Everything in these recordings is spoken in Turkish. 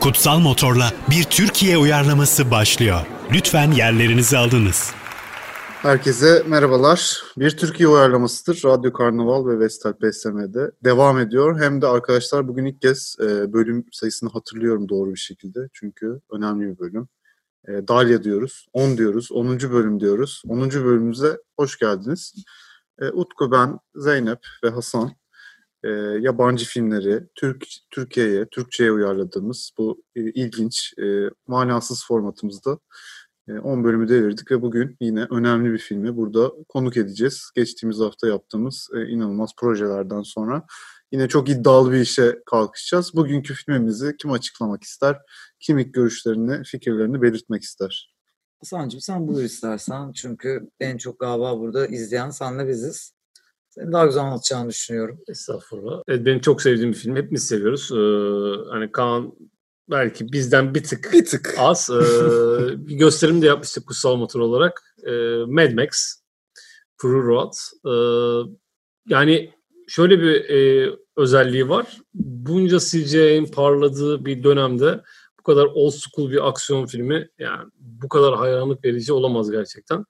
Kutsal Motor'la bir Türkiye uyarlaması başlıyor. Lütfen yerlerinizi alınız. Herkese merhabalar. Bir Türkiye uyarlamasıdır. Radyo Karnaval ve Vestel PSM'de devam ediyor. Hem de arkadaşlar bugün ilk kez e, bölüm sayısını hatırlıyorum doğru bir şekilde. Çünkü önemli bir bölüm. E, Dalya diyoruz, 10 diyoruz, 10. bölüm diyoruz. 10. bölümümüze hoş geldiniz. E, Utku, ben, Zeynep ve Hasan e, yabancı filmleri Türk Türkiye'ye, Türkçe'ye uyarladığımız bu e, ilginç, e, manasız formatımızda e, 10 bölümü devirdik ve bugün yine önemli bir filmi burada konuk edeceğiz. Geçtiğimiz hafta yaptığımız e, inanılmaz projelerden sonra yine çok iddialı bir işe kalkışacağız. Bugünkü filmimizi kim açıklamak ister, kim ilk görüşlerini, fikirlerini belirtmek ister? Hasan'cığım sen buyur istersen. Çünkü en çok galiba burada izleyen senle biziz. Senin daha güzel anlatacağını düşünüyorum. Estağfurullah. Evet, benim çok sevdiğim bir film. Hepimiz seviyoruz. Ee, hani Kaan belki bizden bir tık Bir tık. az. Ee, bir gösterim de yapmıştık kutsal motor olarak. Ee, Mad Max. Fury Road. Ee, yani şöyle bir e, özelliği var. Bunca CGI'nin parladığı bir dönemde bu kadar old school bir aksiyon filmi yani bu kadar hayranlık verici olamaz gerçekten.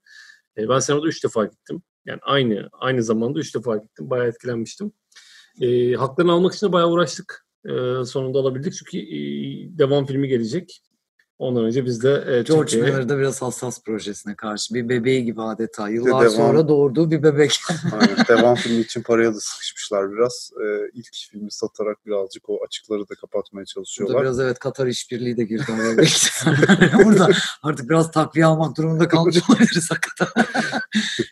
E, ben sinemada üç defa gittim. Yani aynı aynı zamanda üç defa gittim. Bayağı etkilenmiştim. E, haklarını almak için de bayağı uğraştık. E, sonunda alabildik çünkü e, devam filmi gelecek. Ondan önce biz de e, George Türkiye'ye- Miller de biraz hassas projesine karşı. Bir bebeği gibi adeta. Yıllar devam. sonra doğurduğu bir bebek. Aynen. Devam filmi için paraya da sıkışmışlar biraz. Ee, ilk filmi satarak birazcık o açıkları da kapatmaya Burada çalışıyorlar. biraz evet Katar işbirliği de girdi. oraya. Burada artık biraz takviye almak durumunda kalmış olabiliriz hakikaten.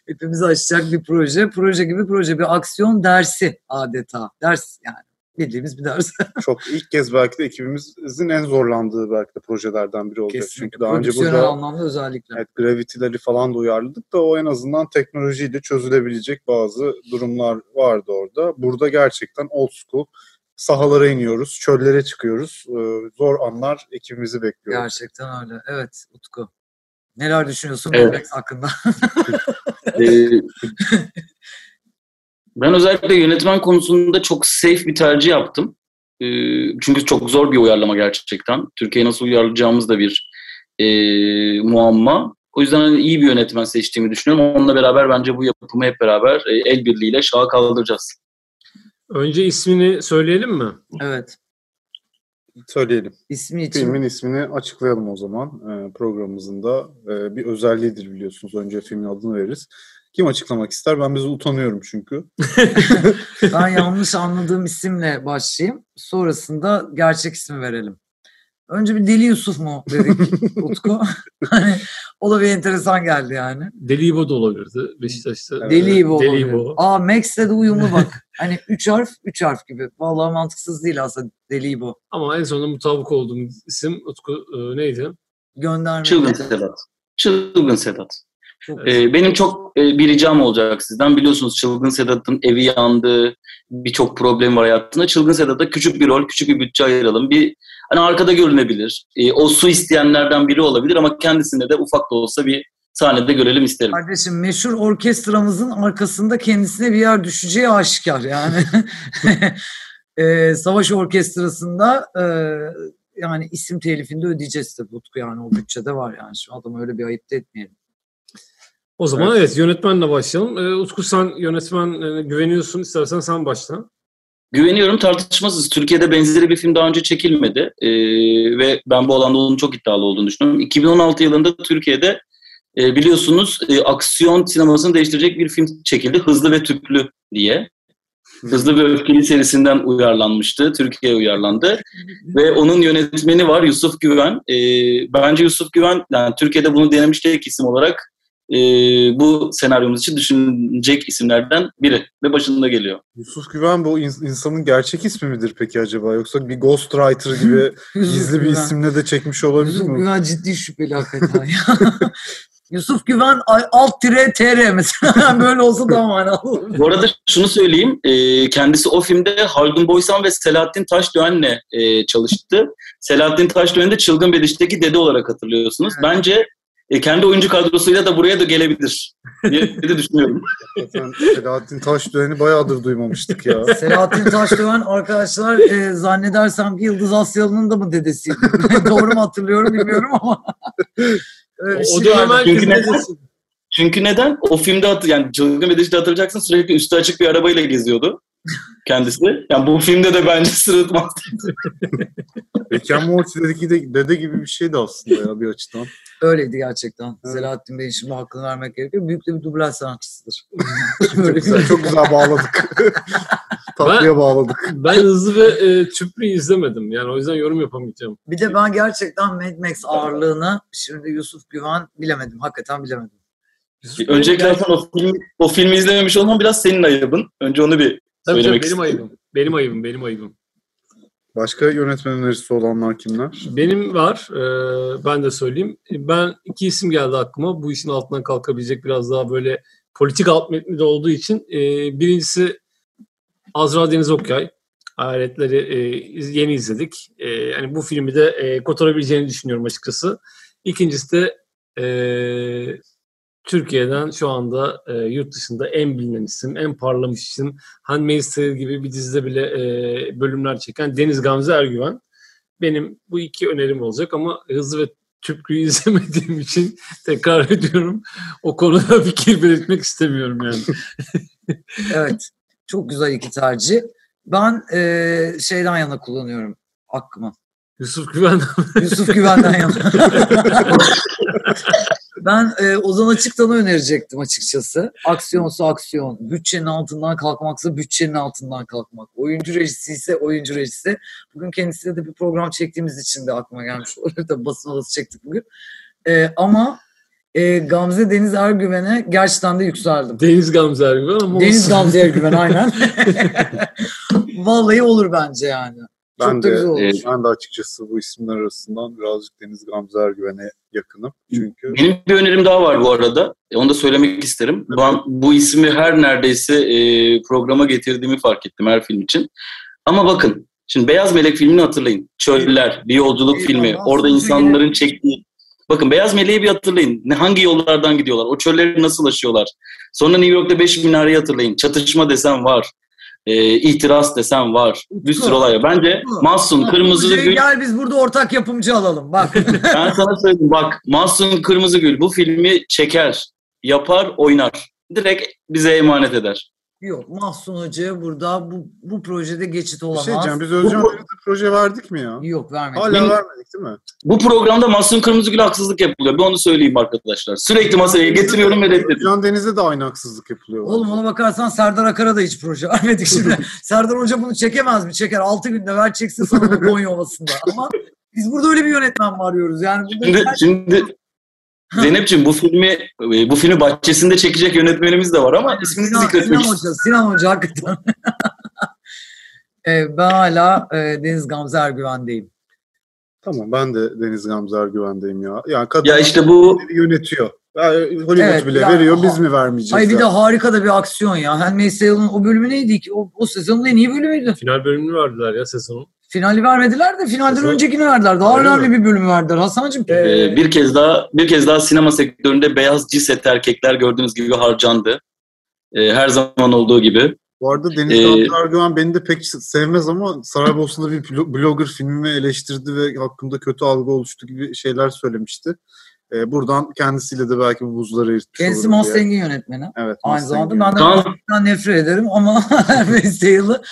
Hepimizi açacak bir proje. Proje gibi proje. Bir aksiyon dersi adeta. Ders yani. Bildiğimiz bir ders. Çok ilk kez belki de ekibimizin en zorlandığı belki de projelerden biri olacak. Çünkü daha önce Prodüksiyonel burada anlamda özellikle. evet, gravity'leri falan da uyarladık da o en azından teknolojiyle çözülebilecek bazı durumlar vardı orada. Burada gerçekten old school sahalara iniyoruz, çöllere çıkıyoruz. Ee, zor anlar ekibimizi bekliyor. Gerçekten öyle. Evet Utku. Neler düşünüyorsun Evet. Netflix hakkında? Ee, ben özellikle yönetmen konusunda çok safe bir tercih yaptım. Ee, çünkü çok zor bir uyarlama gerçekten. Türkiye'ye nasıl uyarlayacağımız da bir e, muamma. O yüzden hani iyi bir yönetmen seçtiğimi düşünüyorum. Onunla beraber bence bu yapımı hep beraber e, el birliğiyle şaha kaldıracağız. Önce ismini söyleyelim mi? evet. Söyleyelim. İsmi için. Filmin ismini açıklayalım o zaman. Ee, programımızın da e, bir özelliğidir biliyorsunuz. Önce filmin adını veririz. Kim açıklamak ister? Ben biraz utanıyorum çünkü. Ben yanlış anladığım isimle başlayayım. Sonrasında gerçek ismi verelim. Önce bir Deli Yusuf mu dedik Utku? hani, o da bir enteresan geldi yani. Deli İbo da olabilirdi. Beşiktaş'ta. e, Evet. Deli İbo Deli olabilir. İbo. Aa Max'le de uyumlu bak. Hani üç harf, üç harf gibi. Vallahi mantıksız değil aslında Deli İbo. Ama en sonunda mutabık olduğum isim Utku e, neydi? Gönderme. Çılgın Sedat. Çılgın Sedat. Çok Ee, benim çok e, bir ricam olacak sizden. Biliyorsunuz Çılgın Sedat'ın evi yandı, birçok problem var hayatında. Çılgın Sedat'a küçük bir rol, küçük bir bütçe ayıralım. Bir hani arkada görünebilir. E, o su isteyenlerden biri olabilir ama kendisinde de ufak da olsa bir sahnede görelim isterim. Kardeşim meşhur orkestramızın arkasında kendisine bir yer düşeceği aşikar yani. Eee, savaş orkestrasında eee, yani isim telifinde ödeyeceğiz tabii Utku yani o bütçede var yani. Şimdi adamı öyle bir ayıp da etmeyelim. O zaman evet, yönetmenle başlayalım. Ee, Utku sen yönetmen e, güveniyorsun. İstersen sen başla. Güveniyorum tartışmasız. Türkiye'de benzeri bir film daha önce çekilmedi. Ee, ve ben bu alanda onun çok iddialı olduğunu düşünüyorum. 2016 yılında Türkiye'de e, biliyorsunuz e, aksiyon sinemasını değiştirecek bir film çekildi. Hızlı ve Tüplü diye. Hızlı ve Öfkeli serisinden uyarlanmıştı. Türkiye'ye uyarlandı. ve onun yönetmeni var Yusuf Güven. Ee, bence Yusuf Güven yani Türkiye'de bunu denemiş tek isim olarak e, bu senaryomuz için düşünecek isimlerden biri. Ve başında geliyor. Yusuf Güven bu in- insanın gerçek ismi midir peki acaba? Yoksa bir ghostwriter gibi gizli bir Güven. isimle de çekmiş olabilir Yusuf mi? Güven ciddi şüpheli hakikaten ya. Yusuf Güven ay- alt tire tr mesela böyle olsa daha manalı olur. Bu arada şunu söyleyeyim. e, kendisi o filmde Haldun Boysan ve Selahattin Taşdöğen'le e, çalıştı. Selahattin Taşdöğen'i de Çılgın Bediş'teki dede olarak hatırlıyorsunuz. Evet. Bence e, e, kendi oyuncu kadrosuyla da buraya da gelebilir diye de düşünüyorum. Zaten Selahattin Taş döneni bayağıdır duymamıştık ya. Selahattin Taşdöven arkadaşlar e, zannedersem ki Yıldız Asyalı'nın da mı dedesiydi? Doğru mu hatırlıyorum bilmiyorum ama. Öyle O, bir o şey dönem vardı. herkes Çünkü neden- dedesi. Çünkü neden? O filmde hatır, yani Çılgın ve Dişli hatırlayacaksın sürekli üstü açık bir arabayla geziyordu kendisi. Yani bu filmde de bence sırıtmaz. Rick Morty dedeki de dede gibi bir şeydi aslında ya bir açıdan. Öyleydi gerçekten. Evet. Selahattin Bey'in şimdi hakkını vermek gerekiyor. Büyük de bir dublaj sanatçısıdır. Çok Böyle bir- şey. güzel, çok güzel bağladık. Tatlıya bağladık. Ben hızlı ve e, tüplü izlemedim. Yani o yüzden yorum yapamayacağım. Bir de ben gerçekten Mad Max ağırlığını şimdi Yusuf Güven bilemedim. Hakikaten bilemedim. Öncelikle aslında o filmi, o filmi izlememiş olman biraz senin ayıbın. Önce onu bir Tabii tabii söylemek benim istedim. ayıbım. Benim ayıbım, benim ayıbım. Başka yönetmen önerisi olanlar kimler? Benim var, e, ben de söyleyeyim. E, Ben iki isim geldi aklıma. Bu işin altından kalkabilecek biraz daha böyle politik alt metni de olduğu için. E, birincisi Azra Deniz Okyay. Hayaletleri e, iz- yeni izledik. E, yani bu filmi de e, kotarabileceğini düşünüyorum açıkçası. İkincisi de e, Türkiye'den şu anda e, yurt dışında en bilinen isim, en parlamış isim, Handmaid's Tale gibi bir dizide bile e, bölümler çeken Deniz Gamze Ergüven. Benim bu iki önerim olacak ama hızlı ve tüplüyü izlemediğim için tekrar ediyorum. O konuda fikir belirtmek istemiyorum yani. Evet. Çok güzel iki tercih. Ben eee, şeyden yana kullanıyorum hakkımı. Yusuf Güven Yusuf Güven'den yana. ben e, Ozan Açıktan'ı önerecektim açıkçası. Aksiyonsa aksiyon, bütçenin altından kalkmaksa bütçenin altından kalkmak, oyuncu rejisi ise oyuncu rejisi. Bugün kendisiyle de bir program çektiğimiz için de aklıma gelmiş olabilir. Tabii basın odası çektik bugün. E, ama e, Gamze Deniz Ergüven'e gerçekten de yükseldim. Deniz Gamze Ergüven ama Deniz olsun. Gamze Ergüven aynen. Vallahi olur bence yani. Ben Çok da de- güzel olur. e, Ben de açıkçası bu isimler arasından birazcık Deniz Gamze Ergüven'e yakınım. Çünkü Benim bir önerim daha var bu arada. E, Onu da söylemek isterim. Ben bu ismi her neredeyse e, programa getirdiğimi fark ettim her film için. Ama bakın, şimdi Beyaz Melek filmini hatırlayın. Çöller, bir yolculuk Eyvallah. filmi. Orada insanların çektiği... Bakın Beyaz Meleği bir hatırlayın. Ne hangi yollardan gidiyorlar? O çölleri nasıl aşıyorlar? Sonra New York'ta Beş Minare'yi hatırlayın. Çatışma desen var. E, itiraz desen var. Bir sürü olay. var. Bence Mahsun Kırmızı Gel- Gül şey, Gel biz burada ortak yapımcı alalım bak. ben sana söyleyeyim bak Mahsun Kırmızıgül bu filmi çeker, yapar, oynar. Direkt bize emanet eder. Yok Mahsun Hoca'ya burada bu, bu projede geçit bir olamaz. şey diyeceğim. Biz Özcan Bu- Deniz'e proje verdik mi ya? Yok vermedim. Hala vermedik değil mi? Bu programda Mahsun Kırmızıgül haksızlık yapılıyor. Bir onu söyleyeyim arkadaşlar. Sürekli masaya Şey, getiriyorum ve reddediyorum. Özcan Deniz'e de aynı haksızlık yapılıyor. Oğlum ona bakarsan Serdar Akar'a da hiç proje vermedik şimdi. Serdar Hoca bunu çekemez mi? Çeker. 6 günde ver çeksin sana da Konya Ovası'nda. Ama biz burada öyle bir yönetmen mi arıyoruz? Yani burada Şimdi, şimdi Zeynep'ciğim bu filmi e, bu filmi bahçesinde çekecek yönetmenimiz de var ama ismini Sinan, Sinan zikretmemiş. Hoca, Sinan Hoca hakikaten. Ee, ben hala e, Deniz Gamze Ergüven'deyim. Tamam ben de Deniz Gamze Ergüven'deyim ya. Yani kadın Ya işte bu yönetiyor. Yani Hollywood Evet, bile ya- veriyor biz mi vermeyeceğiz? Ay bir ya? de harika da bir aksiyon ya. Handmaid's Tale'ın o bölümü neydi ki? O, o sezonun en iyi bölümüydü. Final bölümünü verdiler ya sezonun. Finali vermediler de finalden Sezon- öncekini verdiler. Daha Öyle önemli bir bölüm verdiler Hasan'cığım. Ee, e, bir kez daha bir kez daha sinema sektöründe beyaz ciset erkekler gördüğünüz gibi harcandı. E, her zaman olduğu gibi. Bu arada Deniz Ee, Gamze Ergüven beni de pek sevmez ama Saraybosna'da bir blo- blogger filmimi eleştirdi ve hakkımda kötü algı oluştu gibi şeyler söylemişti. Ee, buradan kendisiyle de belki bu buzları eritmiş Kendisi olurum diye. Mustang'in yönetmeni. Evet, Aynı Mustang'in. zamanda ben de Tamam. Mustang'dan nefret ederim ama Handmaid's Tale'ı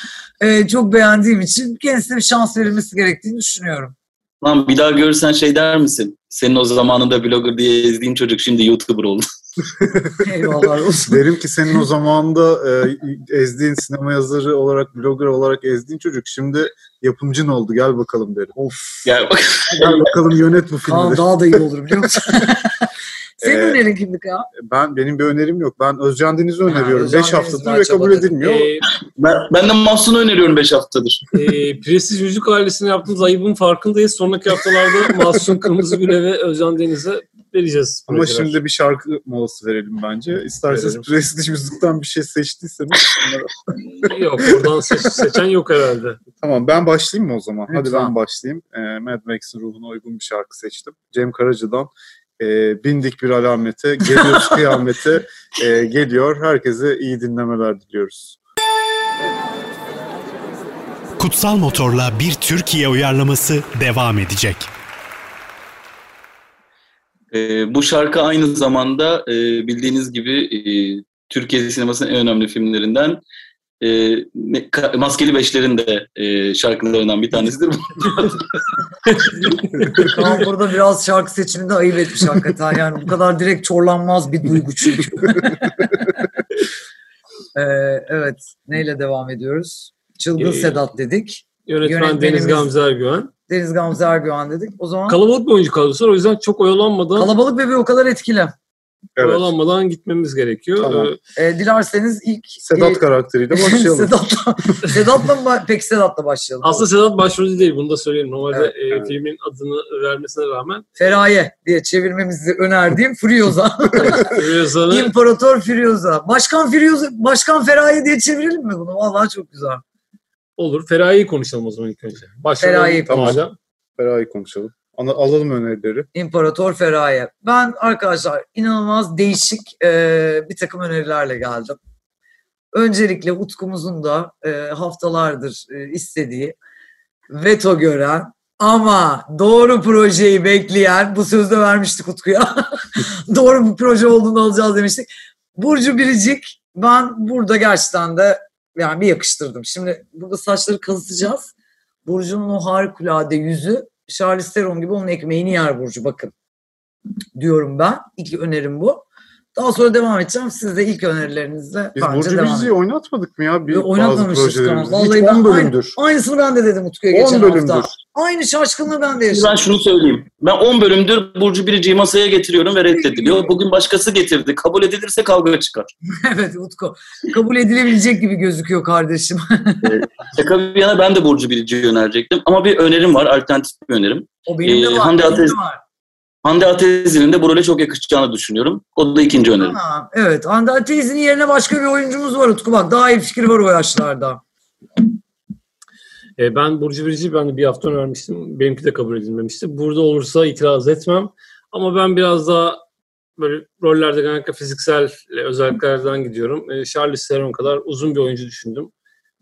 e, çok beğendiğim için kendisine bir şans verilmesi gerektiğini düşünüyorum. Lan bir daha görürsen şey der misin? Senin o zamanında blogger diye ezdiğin çocuk şimdi YouTuber oldu. Eyvallah olsun. Derim ki senin o zamanda e, ezdiğin sinema yazarı olarak, blogger olarak ezdiğin çocuk şimdi yapımcın oldu gel bakalım derim. Of. Yani bak Gel bakalım yönet bu filmi. Kaan daha da iyi olur biliyor musun? Senin Ee, önerin kimdi Kaan? Ben Benim bir önerim yok. Ben Özcan Deniz'i öneriyorum. Özcan 5 Deniz daha haftadır ve kabul çabaladı. Ee, edilmiyor. E, ben, ben de Mahsun'u öneriyorum 5 haftadır. e, Prestij Müzik ailesine yaptığımız ayıbın farkındayız. Sonraki haftalarda Mahsun Kırmızıgül'e ve Özcan Deniz'e vereceğiz. Ama projeler. şimdi bir şarkı molası verelim bence. İsterseniz Verelim. prestij müzikten bir şey seçtiyseniz. Yok oradan seç- seçen yok herhalde. tamam ben başlayayım mı o zaman? Hadi Lütfen. ben başlayayım. Ee, Mad Max'in ruhuna uygun bir şarkı seçtim. Cem Karaca'dan e, bindik bir alamete, geliyoruz kıyamete, e, geliyor. Herkese iyi dinlemeler diliyoruz. Kutsal Motor'la bir Türkiye uyarlaması devam edecek. Ee, bu şarkı aynı zamanda e, bildiğiniz gibi e, Türkiye sinemasının en önemli filmlerinden e, ne- Ka- Maskeli Beşler'in de e, şarkılarından bir tanesidir. Kaan burada biraz şarkı seçiminde ayıp etmiş hakikaten. Yani bu kadar direkt çorlanmaz bir duygu çünkü. Ee, evet. Neyle devam ediyoruz? Çılgın Ee, Sedat dedik. Yönetmen Yönetmenimiz- Deniz Gamze Ergüven. Deniz Gamze Ergüven dedik. O zaman Kalabalık bir oyuncu kadrosu var. O yüzden çok oyalanmadan kalabalık bebeği o kadar etkili. Evet. oyalanmadan gitmemiz gerekiyor. Tamam. Ee, Ee, dilerseniz ilk... Sedat e, karakteriyle başlayalım. Sedat'la, Sedat'la mı ba- peki Sedat'la başlayalım. aslında Sedat başrolü değil. Bunu da söyleyelim. Normalde Evet, e, evet. filmin adını vermesine rağmen Feraye diye çevirmemizi önerdiğim Furioza. Rüyazan'ı İmparator Furioza. Başkan Furioza, Başkan Feraye diye çevirelim mi bunu? Vallahi çok güzel. olur. Feraye'yi konuşalım o zaman ilk önce. Başlayalım. Feraye'yi Tamam. konuşalım. Feraye konuşalım. Ana- alalım önerileri. İmparator Feraye. Ben arkadaşlar inanılmaz değişik e, bir takım önerilerle geldim. Öncelikle Utkumuzun da e, haftalardır e, istediği veto gören ama doğru projeyi bekleyen bu sözü de vermiştik Utku'ya. doğru bir proje olduğunu alacağız demiştik. Burcu Biricik ben burada gerçekten de yani bir yakıştırdım. Şimdi burada saçları kazıtacağız. Burcu'nun o harikulade yüzü Charlize Theron gibi onun ekmeğini yer Burcu bakın diyorum ben. İlk önerim bu. Daha sonra devam edeceğim. Siz de ilk önerilerinizle Biz bence Burcu devam Biricik'i edin. oynatmadık mı ya? Bir, Yo, bazı oynatmamışız projelerimizde. tamam. Vallahi Hiç ben 10 bölümdür. Aynısını ben de dedim Utku'ya 10 geçen bölümdür. hafta. Aynı şaşkınlığı ben de yaşadım. ben şunu söyleyeyim. Ben 10 bölümdür Burcu Biricik'i masaya getiriyorum ve reddediliyor. Bugün başkası getirdi. Kabul edilirse kavga çıkar. evet Utku. Kabul edilebilecek gibi gözüküyor kardeşim. Şaka bir yana ben de Burcu Biricik'i önerecektim. Ama bir önerim var. Alternatif bir önerim. O benim de Ee, var. Hande benim de Ateş- var. Hande Atezi'nin de bu role çok yakışacağını düşünüyorum. O da ikinci önerim. Tamam, evet. Hande Ateiz'in yerine başka bir oyuncumuz var Utku. Bak daha iyi fikir var o yaşlarda. E, ben Burcu Biricik'i ben de bir hafta önermiştim. Benimki de kabul edilmemişti. Burada olursa itiraz etmem. Ama ben biraz daha böyle rollerde genellikle fiziksel e, özelliklerden gidiyorum. E, Charlize Theron kadar uzun bir oyuncu düşündüm.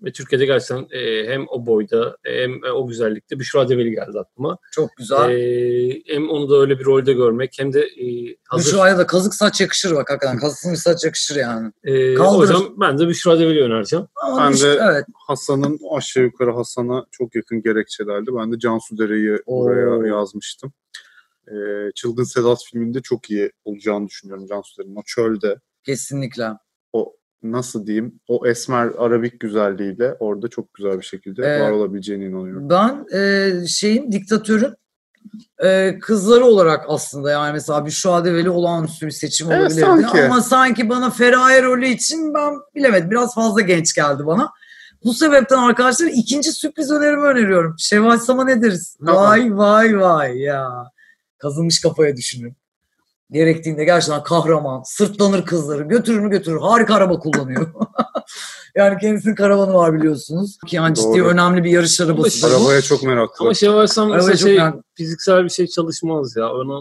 Ve Türkiye'de gerçekten e, hem o boyda e, hem o güzellikte Büşra Develi geldi aklıma. Çok güzel. E, hem onu da öyle bir rolde görmek hem de e, hazır. Büşra'ya da kazık saç yakışır bak hakikaten. Kazıksız saç yakışır yani. E, o Kaldırır. yüzden ben de Büşra Develi önereceğim. Ama Ben Büşra- de- evet. Hasan'ın aşağı yukarı Hasan'a çok yakın gerekçelerdi. Ben de Cansu Dere'yi Oo. buraya yazmıştım. Ee, Çılgın Sedat filminde çok iyi olacağını düşünüyorum Cansu Dere'nin. O çölde Kesinlikle. nasıl diyeyim o esmer arabik güzelliğiyle orada çok güzel bir şekilde Ee, var olabileceğine inanıyorum. Ben e, şeyim diktatörün e, kızları olarak aslında yani mesela Büşra Develi olağanüstü bir seçim Evet, olabilirdi. sanki. Ama sanki bana Feraye rolü için ben bilemedim. Biraz fazla genç geldi bana. Bu sebepten arkadaşlar ikinci sürpriz önerimi öneriyorum. Şevval Sam'a ne deriz? Tamam. Vay vay vay ya. Kazınmış kafaya düşünün. Gerektiğinde gerçekten kahraman, sırtlanır kızları, götürür mü götürür. Harika araba kullanıyor. yani kendisinin karavanı var biliyorsunuz. Yani ciddi Doğru. önemli bir yarış arabası. Ama- Arabaya çok Ama meraklı. şey varsam Arabaya mesela çok şey, merak- fiziksel bir şey çalışmaz ya. Ona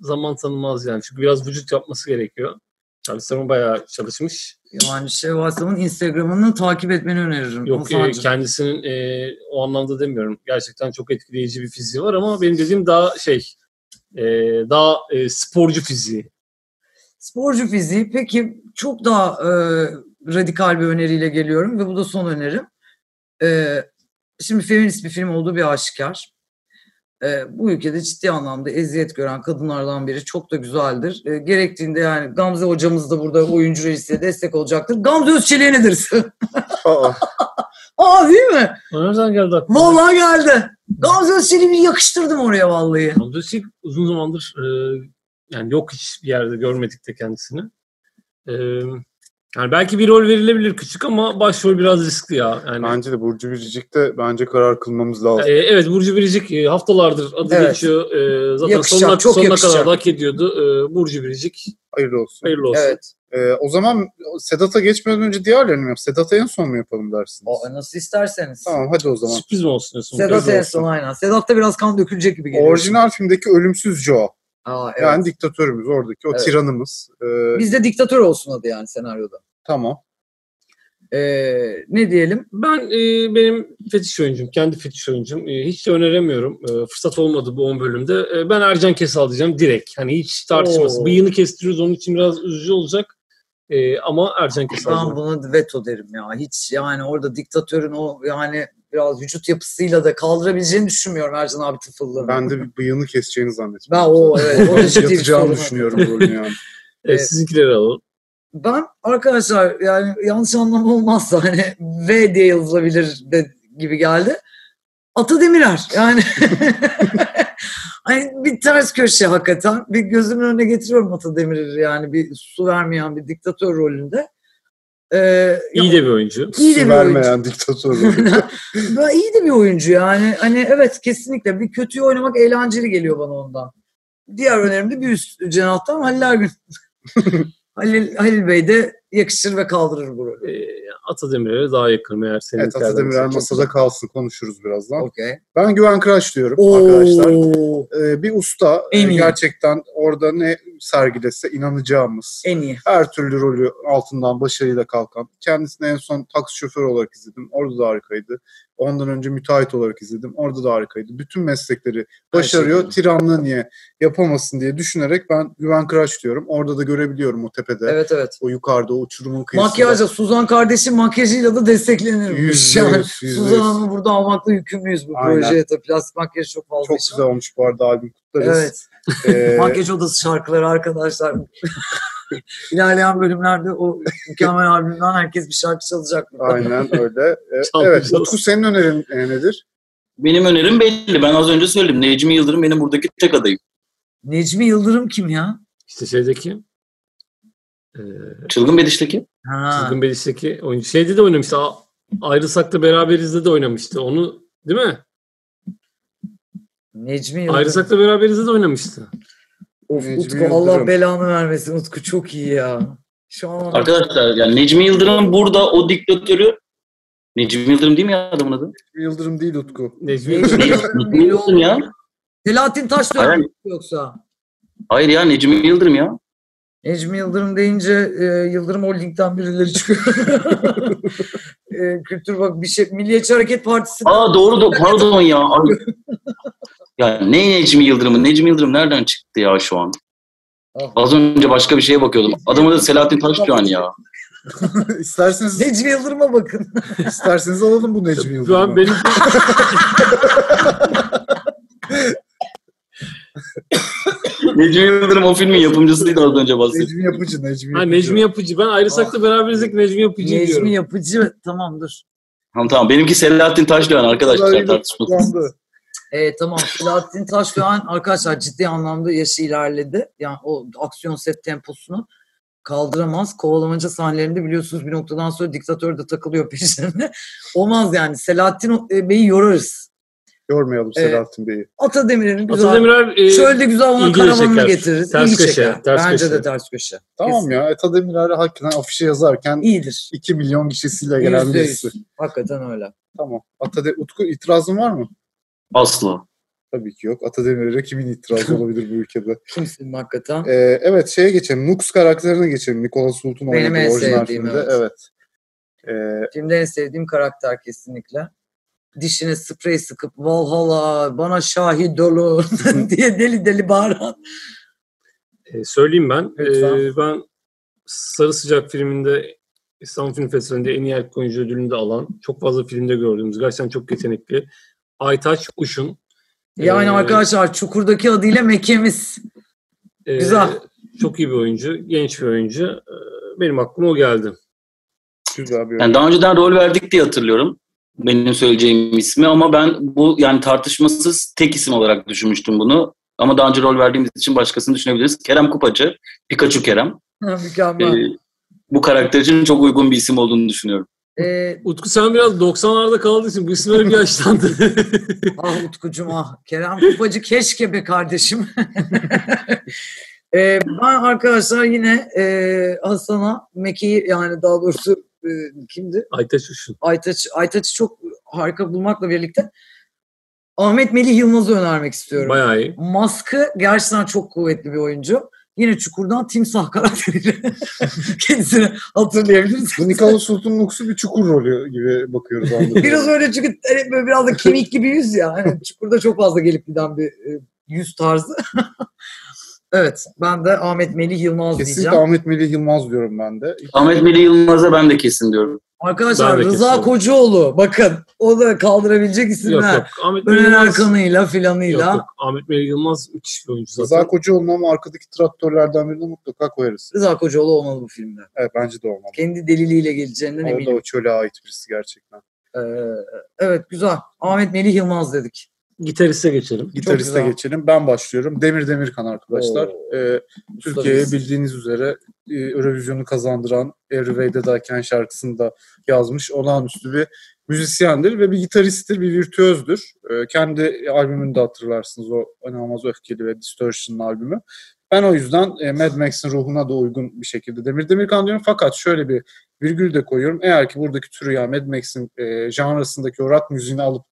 zaman tanımaz yani. Çünkü biraz vücut yapması gerekiyor. Charles Theron bayağı çalışmış. Yani şey varsamın Instagram'ını takip etmeni öneririm. Yok e, Hasan'cığım. kendisinin e, o anlamda demiyorum. Gerçekten çok etkileyici bir fiziği var ama benim dediğim daha şey e, daha e, sporcu fiziği. Sporcu fiziği peki çok daha e, radikal bir öneriyle geliyorum ve bu da son önerim. E, şimdi feminist bir film olduğu bir aşikar. E, bu ülkede ciddi anlamda eziyet gören kadınlardan biri çok da güzeldir. E, gerektiğinde yani Gamze hocamız da burada oyuncu reisliğe destek olacaktır. Gamze Özçelik'e ne dersin? Aa, Aa değil mi? Nereden geldi aklıma? Vallahi geldi. Gamze Özçelik'i bir yakıştırdım oraya vallahi. Hamdolsun uzun zamandır e, yani yok hiç bir yerde görmedik de kendisini. E, yani belki bir rol verilebilir küçük ama başrol biraz riskli ya. Yani bence de Burcu Biricik'te bence karar kılmamız lazım. Ee, evet Burcu Biricik e, haftalardır adı Evet. geçiyor. Ee, zaten Yakışacak, sonuna, çok sonuna yakışacak. kadar da hak ediyordu. Ee, Burcu Biricik Hayırlı olsun. hayırlı olsun. Evet. Ee, o zaman Sedat'a geçmeden önce diğerlerini mi yap? Sedat'a en son mu yapalım dersiniz? Aa, nasıl isterseniz. Tamam hadi o zaman. Sürpriz mi olsun diyorsun? Sedat Öyle en olsun. son aynen. Sedat'ta biraz kan dökülecek gibi geliyor. Orijinal filmdeki ölümsüz Joe. Aa, evet. Yani diktatörümüz oradaki o Evet. tiranımız. Ee, Bizde diktatör olsun adı yani senaryoda. Tamam. Ee, ne diyelim? Ben e, benim fetiş oyuncum, kendi fetiş oyuncum. E, hiç de öneremiyorum. E, fırsat olmadı bu 10 bölümde. E, ben Ercan Kesal diyeceğim direkt. Hani hiç tartışması. Oo. Bıyığını kestiriyoruz onun için biraz üzücü olacak. E, ama Ercan Kesal. Ben diyorum. buna veto derim ya. Hiç yani orada diktatörün o yani biraz vücut yapısıyla da kaldırabileceğini düşünmüyorum Ercan abi tıfıllığını. Ben de bir bıyığını keseceğini Ben zannetmiyorum. o evet. o da ciddi bir Yatacağını sorun. düşünüyorum rolünü yani. E, sizinkileri alalım. Ben arkadaşlar yani yanlış anlama olmazsa hani V diye yazılabilir de, gibi geldi. Ata Demirer yani. hani bir ters köşe hakikaten. Bir gözümün önüne getiriyorum Ata Demirer'i yani bir su vermeyen bir diktatör rolünde. Ee, İyi de bir oyuncu. iyi de Su bir oyuncu. vermeyen diktatör rolü. Ben iyi de bir oyuncu yani. Hani evet kesinlikle bir kötüyü oynamak eğlenceli geliyor bana ondan. Diğer önerim de bir üst cenahtan Halil Ergün. Halil, Halil Bey de yakışır ve kaldırır bu rolü. E, Atademir'e daha yakınım eğer senin evet Atademirer masada kalsın konuşuruz birazdan. Okey. Ben Güven Kıraç diyorum arkadaşlar. Oo, Ee, bir usta En e, iyi. gerçekten orada ne sergilese inanacağımız en iyi. her türlü rolü altından başarıyla kalkan. Kendisini en son taksi şoförü olarak izledim. Orada da harikaydı. Ondan önce müteahhit olarak izledim. Orada da harikaydı. Bütün meslekleri başarıyor. Her Tiranlığı niye yapamasın diye düşünerek ben Güven Kıraç diyorum. Orada da görebiliyorum o tepede. Evet evet. O yukarıda o uçurumun kıyısında. Makyajla Suzan kardeşim makyajıyla da desteklenirmiş. Yüzde Yani yüz, yüzde Suzan yüz. Hanım burada almakla yükümlüyüz bu Aynen. projeye. Tabii plastik makyaj çok fazla. Çok iş güzel var. olmuş bu arada albüm kutlarız. Evet. Ee, Makyaj odası şarkıları arkadaşlar. İlerleyen bölümlerde o mükemmel albümden herkes bir şarkı çalacak. aynen öyle. Ee, evet. Çalmayacağız. Utku senin önerin e, nedir? Benim önerim belli. Ben az önce söyledim. Necmi Yıldırım benim buradaki tek adayım. Necmi Yıldırım kim ya? İşte şeydeki e, Çılgın Bediş'teki. Ha. Çılgın Belis'teki oyuncu. Şeyde de oynamıştı. A- Ayrılsak da Beraberiz'de de oynamıştı. Onu değil mi? Necmi Yıldırım. Ayrılsak da Beraberiz'de de oynamıştı. Of, Necmi Utku Yıldırım. Allah belanı vermesin. Utku çok iyi ya. Şu an Arkadaşlar yani Necmi Yıldırım burada o diktatörü Necmi Yıldırım değil mi ya adamın adı? Yıldırım değil Utku. Necmi Necmi Ne- Yıldırım Necmi değil Yıldırım oğlum. ya. Selahattin Taş Hayır. dönmüş yoksa. Hayır ya Necmi Yıldırım ya. Necmi Yıldırım deyince e, Yıldırım Holding'den birileri çıkıyor. e, Kültür Bak bir şey Milliyetçi Hareket Partisi. Aa doğru da pardon ya. Ay. Ya ne Necmi Yıldırım'ı? Necmi Yıldırım nereden çıktı ya şu an? Ah. Az önce başka bir şeye bakıyordum. Adamın adı Selahattin Taşdoğan ya. isterseniz Necmi Yıldırım'a bakın. isterseniz alalım bu Necmi Şu Yıldırım'ı. an benim Necmi Yıldırım o filmin yapımcısıydı az önce bahsettim. Necmi Yapıcı, Necmi ha, Yapıcı. Necmi Yapıcı. Ah. Ben Ayrılsak da Beraberiz'deki Necmi Yapıcı diyorum. Necmi Yapıcı tamam dur. Tamam tamam. Benimki Selahattin Taşdoğan arkadaşlar Böyle tartışmasın. kullandı. E, tamam Selahattin Taşdoğan arkadaşlar ciddi anlamda yaşı ilerledi. Yani o aksiyon set temposunu kaldıramaz. Kovalamaca sahnelerinde biliyorsunuz bir noktadan sonra diktatör de takılıyor peşlerine. Olmaz yani. Selahattin e, Bey'i yorarız. Yormayalım Selahattin Bey'i. Atademir'in güzel. Atademirer e, Şöyle de güzel ona ilgi de karavanını çeker. getiririz. Ters İlgi köşe, çeker. ters Bence köşe. de ters köşe. Tamam ya. Eta Demirer'i hakikaten afişe yazarken İyidir. 2 milyon kişisiyle gelen Yüzde birisi. yüz. Hakikaten öyle. Tamam. Ata De- Utku itirazın var mı? Aslı. Tabii ki yok. Ata Demirer'e kimin itirazı olabilir bu ülkede? Kimsin hakikaten? Ee, evet şeye geçelim. Nux karakterine geçelim. Nikola Sultan Benim oynadığı en orijinal sevdiğim, filmde. evet. Evet. Ee, Filmde en sevdiğim karakter kesinlikle. Dişine sprey sıkıp Valhalla bana şahit dolu diye deli deli bağıran. e, söyleyeyim ben. E, Lütfen. ben Sarı Sıcak filminde İstanbul Film Festivali'nde en iyi erkek oyuncu ödülünü de alan, çok fazla filmde gördüğümüz, gerçekten çok yetenekli. Aytaç Uşun. Yani Ee, arkadaşlar Çukur'daki adıyla Mekemiz. e, Güzel. Çok iyi bir oyuncu, genç bir oyuncu. E, benim aklıma o geldi. güzel bir Yani daha önceden rol verdik diye hatırlıyorum. Benim söyleyeceğim ismi ama ben bu yani tartışmasız tek isim olarak düşünmüştüm bunu. Ama daha önce rol verdiğimiz için başkasını düşünebiliriz. Kerem Kupacı, Pikachu Kerem. Ee, Mükemmel. bu karakter için çok uygun bir isim olduğunu düşünüyorum. Ee, Utku sen biraz 90'larda kaldığın için bu isim öyle bir yaşlandı. ah Utkucuğum ah. Kerem Kupacı keşke be kardeşim. Ee, ben arkadaşlar yine e, Hasan'a Meki'yi yani daha doğrusu e, kimdi? Aytaç Uşun. Aytaç, Aytaç'ı çok harika bulmakla birlikte Ahmet Melih Yılmaz'ı önermek istiyorum. Bayağı iyi. Maskı gerçekten çok kuvvetli bir oyuncu. Yine Çukur'dan Timsah karakteriyle kendisini hatırlayabilirsiniz. Bu Nikolaus Sultan'ın Uks'u bir çukur rolü gibi bakıyoruz anlamda. Biraz öyle çünkü hani böyle biraz da kemik gibi yüz ya. Hani Çukur'da çok fazla gelip giden bir e, yüz tarzı. evet ben de Ahmet Melih Yılmaz Kesinlikle diyeceğim. Ahmet Melih Yılmaz diyorum ben de. Ahmet Melih Yılmaz'a ben de kesin diyorum. Arkadaşlar Ben de Rıza kesin. Kocaoğlu bakın o da kaldırabilecek Yok isimler. yok. Ahmet Melih Ölen Yılmaz. Erkan'ıyla Yok, filanıyla. yok. Ahmet Melih Yılmaz müthiş bir oyuncu zaten. Rıza Kocaoğlu'nun ama arkadaki traktörlerden birini mutlaka koyarız. Rıza Kocaoğlu olmalı bu filmde. Evet bence de olmalı. Kendi deliliyle geleceğinden O da eminim. o çöle ait birisi gerçekten. Ee, evet güzel. Ahmet Melih Yılmaz dedik. Gitariste geçelim. Gitariste güzel. geçelim. Ben başlıyorum. Demir Demirkan arkadaşlar. Oo. Ee, Türkiye'ye Ustayız. bildiğiniz üzere e, Eurovision'u kazandıran Every Way That I Can şarkısını da yazmış. Olağanüstü bir müzisyendir ve bir gitaristtir, bir virtüözdür. Ee, kendi albümünü de hatırlarsınız. O Anamaz Öfkeli ve Distortion'ın albümü. Ben o yüzden e, Mad Max'in ruhuna da uygun bir şekilde Demir Demirkan diyorum. Fakat şöyle bir virgül de koyuyorum. Eğer ki buradaki türü ya Mad Max'in e, janrasındaki o rock müziğini alıp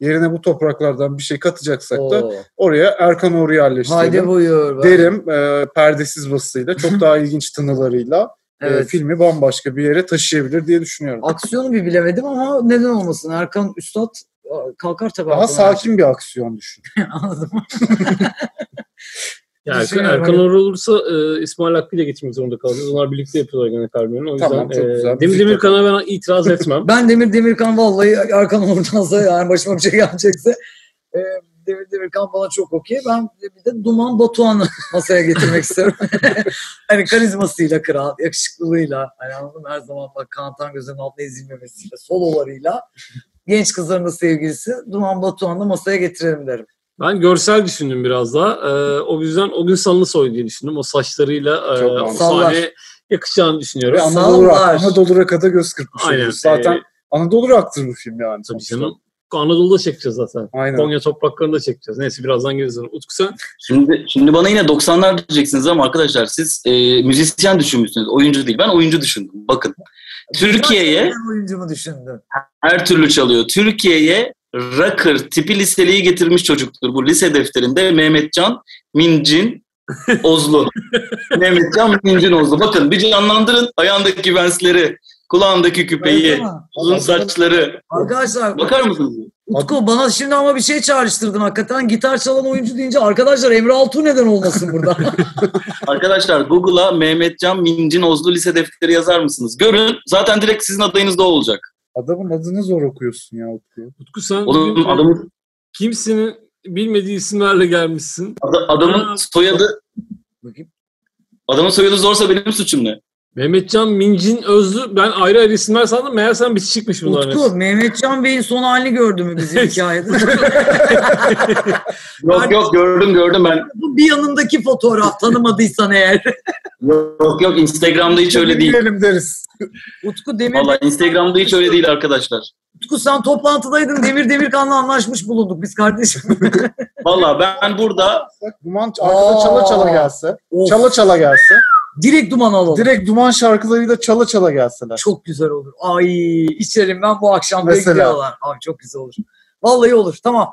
yerine bu topraklardan bir şey katacaksak da Oo. Oraya Erkan Oğur'u Haydi yerleştirdim. buyur. be. Derim e, perdesiz basıyla çok daha ilginç tınılarıyla e, Evet. filmi bambaşka bir yere taşıyabilir diye düşünüyorum. Aksiyonu bir bilemedim ama neden olmasın? Erkan Üstad a, kalkar tabii. daha altına. sakin bir aksiyon düşün. Anladım. Ya Erkan, Düşünüyorum, Erkan hani- Oral olursa e, İsmail Hakkı ile geçmek zorunda kalacağız. Onlar birlikte yapıyorlar gene Carmen'i. O yüzden Tamam, çok güzel. e, Demir Müzik Demirkan'a ben itiraz etmem. Ben Demir Demirkan vallahi Erkan oradansa yani başıma bir şey gelecekse e, Demir Demirkan bana çok okey. Ben de- bir de Duman Batuhan'ı masaya getirmek istiyorum. hani karizmasıyla kral, yakışıklılığıyla hani anladın mı? her zaman bak kanatan gözünün altına ezilmemesiyle, sololarıyla genç kızların da sevgilisi Duman Batuhan'ı masaya getirelim derim. ben görsel düşündüm biraz daha. E, o yüzden o gün Sanlısoy diye düşündüm. O saçlarıyla e, Çok o mantıklı. sahneye yakışacağını düşünüyorum. Ve Sağ Anadolu, Rock, var. Anadolu Rock'a göz kırpmış Aynen, oluyoruz. Zaten e, Anadolu Rock'tır bu film yani. Tabii sonuçta. canım. Anadolu'da çekeceğiz zaten. Aynen. Konya topraklarında çekeceğiz. Neyse birazdan geliriz. Utku sen Şimdi şimdi bana yine 90'lar diyeceksiniz ama arkadaşlar siz e, müzisyen düşünmüşsünüz. Oyuncu değil. Ben oyuncu düşündüm. Bakın. Türkiye'ye Ben oyuncumu düşündüm. her türlü çalıyor. Türkiye'ye rocker tipi liseliği getirmiş çocuktur. Bu lise defterinde Mehmetcan, Mincin, Ozlu. Mehmetcan, Mincin, Ozlu. Bakın bir canlandırın ayağındaki vensleri, kulağındaki küpeyi, Ama uzun saçları. Arkadaşlar Bakar mısınız? Utku bana şimdi ama bir şey çağrıştırdın hakikaten. Gitar çalan oyuncu deyince arkadaşlar Emre Altuğ neden olmasın burada? Arkadaşlar Google'a Mehmetcan Mincin Ozlu lise defteri yazar mısınız? Görün zaten direkt sizin adayınız da o olacak. Adamın adını zor okuyorsun ya. Utku. Utku sen Oğlum bugün adamın, kimsinin bilmediği isimlerle gelmişsin. ad- adamın soyadı Bakayım. adamın soyadı zorsa benim suçum ne? Mehmetcan Mincin Özlü ben ayrı ayrı isimler sandım. Meğersem bitişikmiş bunların. Utku Mehmetcan Bey'in son halini gördü mü bizim hikayede? Yok yok gördüm gördüm ben. Bu bir yanındaki fotoğraf tanımadıysan eğer. Yok yok Instagram'da hiç öyle değil. Bilmeyelim deriz. Utku Demir Vallahi Instagram'da hiç öyle değil arkadaşlar. Utku sen toplantıdaydın. Demir Demirkan'la anlaşmış bulunduk biz kardeşim. Vallahi ben burada Bak, Duman arkada Aa. çala çala gelse, Of, çala çala gelse, Direkt duman alalım. direkt Duman şarkılarıyla çala çala gelseler. Çok güzel olur. Ay içerim ben bu akşam Mesela. bekliyorlar. Abi çok güzel olur. Vallahi olur. Tamam.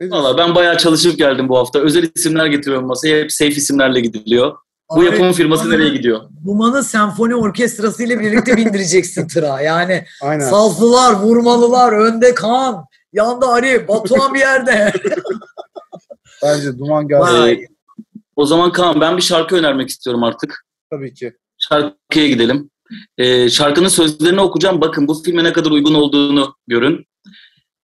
Ne diyorsun? vallahi ben bayağı çalışıp geldim bu hafta. Özel isimler getiriyorum masaya. Hep safe isimlerle gidiliyor. Bu Abi, yapımın firması nereye gidiyor? Duman'ı senfoni orkestrası ile birlikte bindireceksin tıra. Yani Aynen. Sazlılar, vurmalılar, önde Kaan, yanda Ali, Batuhan bir yerde. Bence Duman gelse Vay. Ee, o zaman Kaan ben bir şarkı önermek istiyorum artık. tabii ki. şarkıya gidelim. Ee, şarkının sözlerini okuyacağım. Bakın bu filme ne kadar uygun olduğunu görün.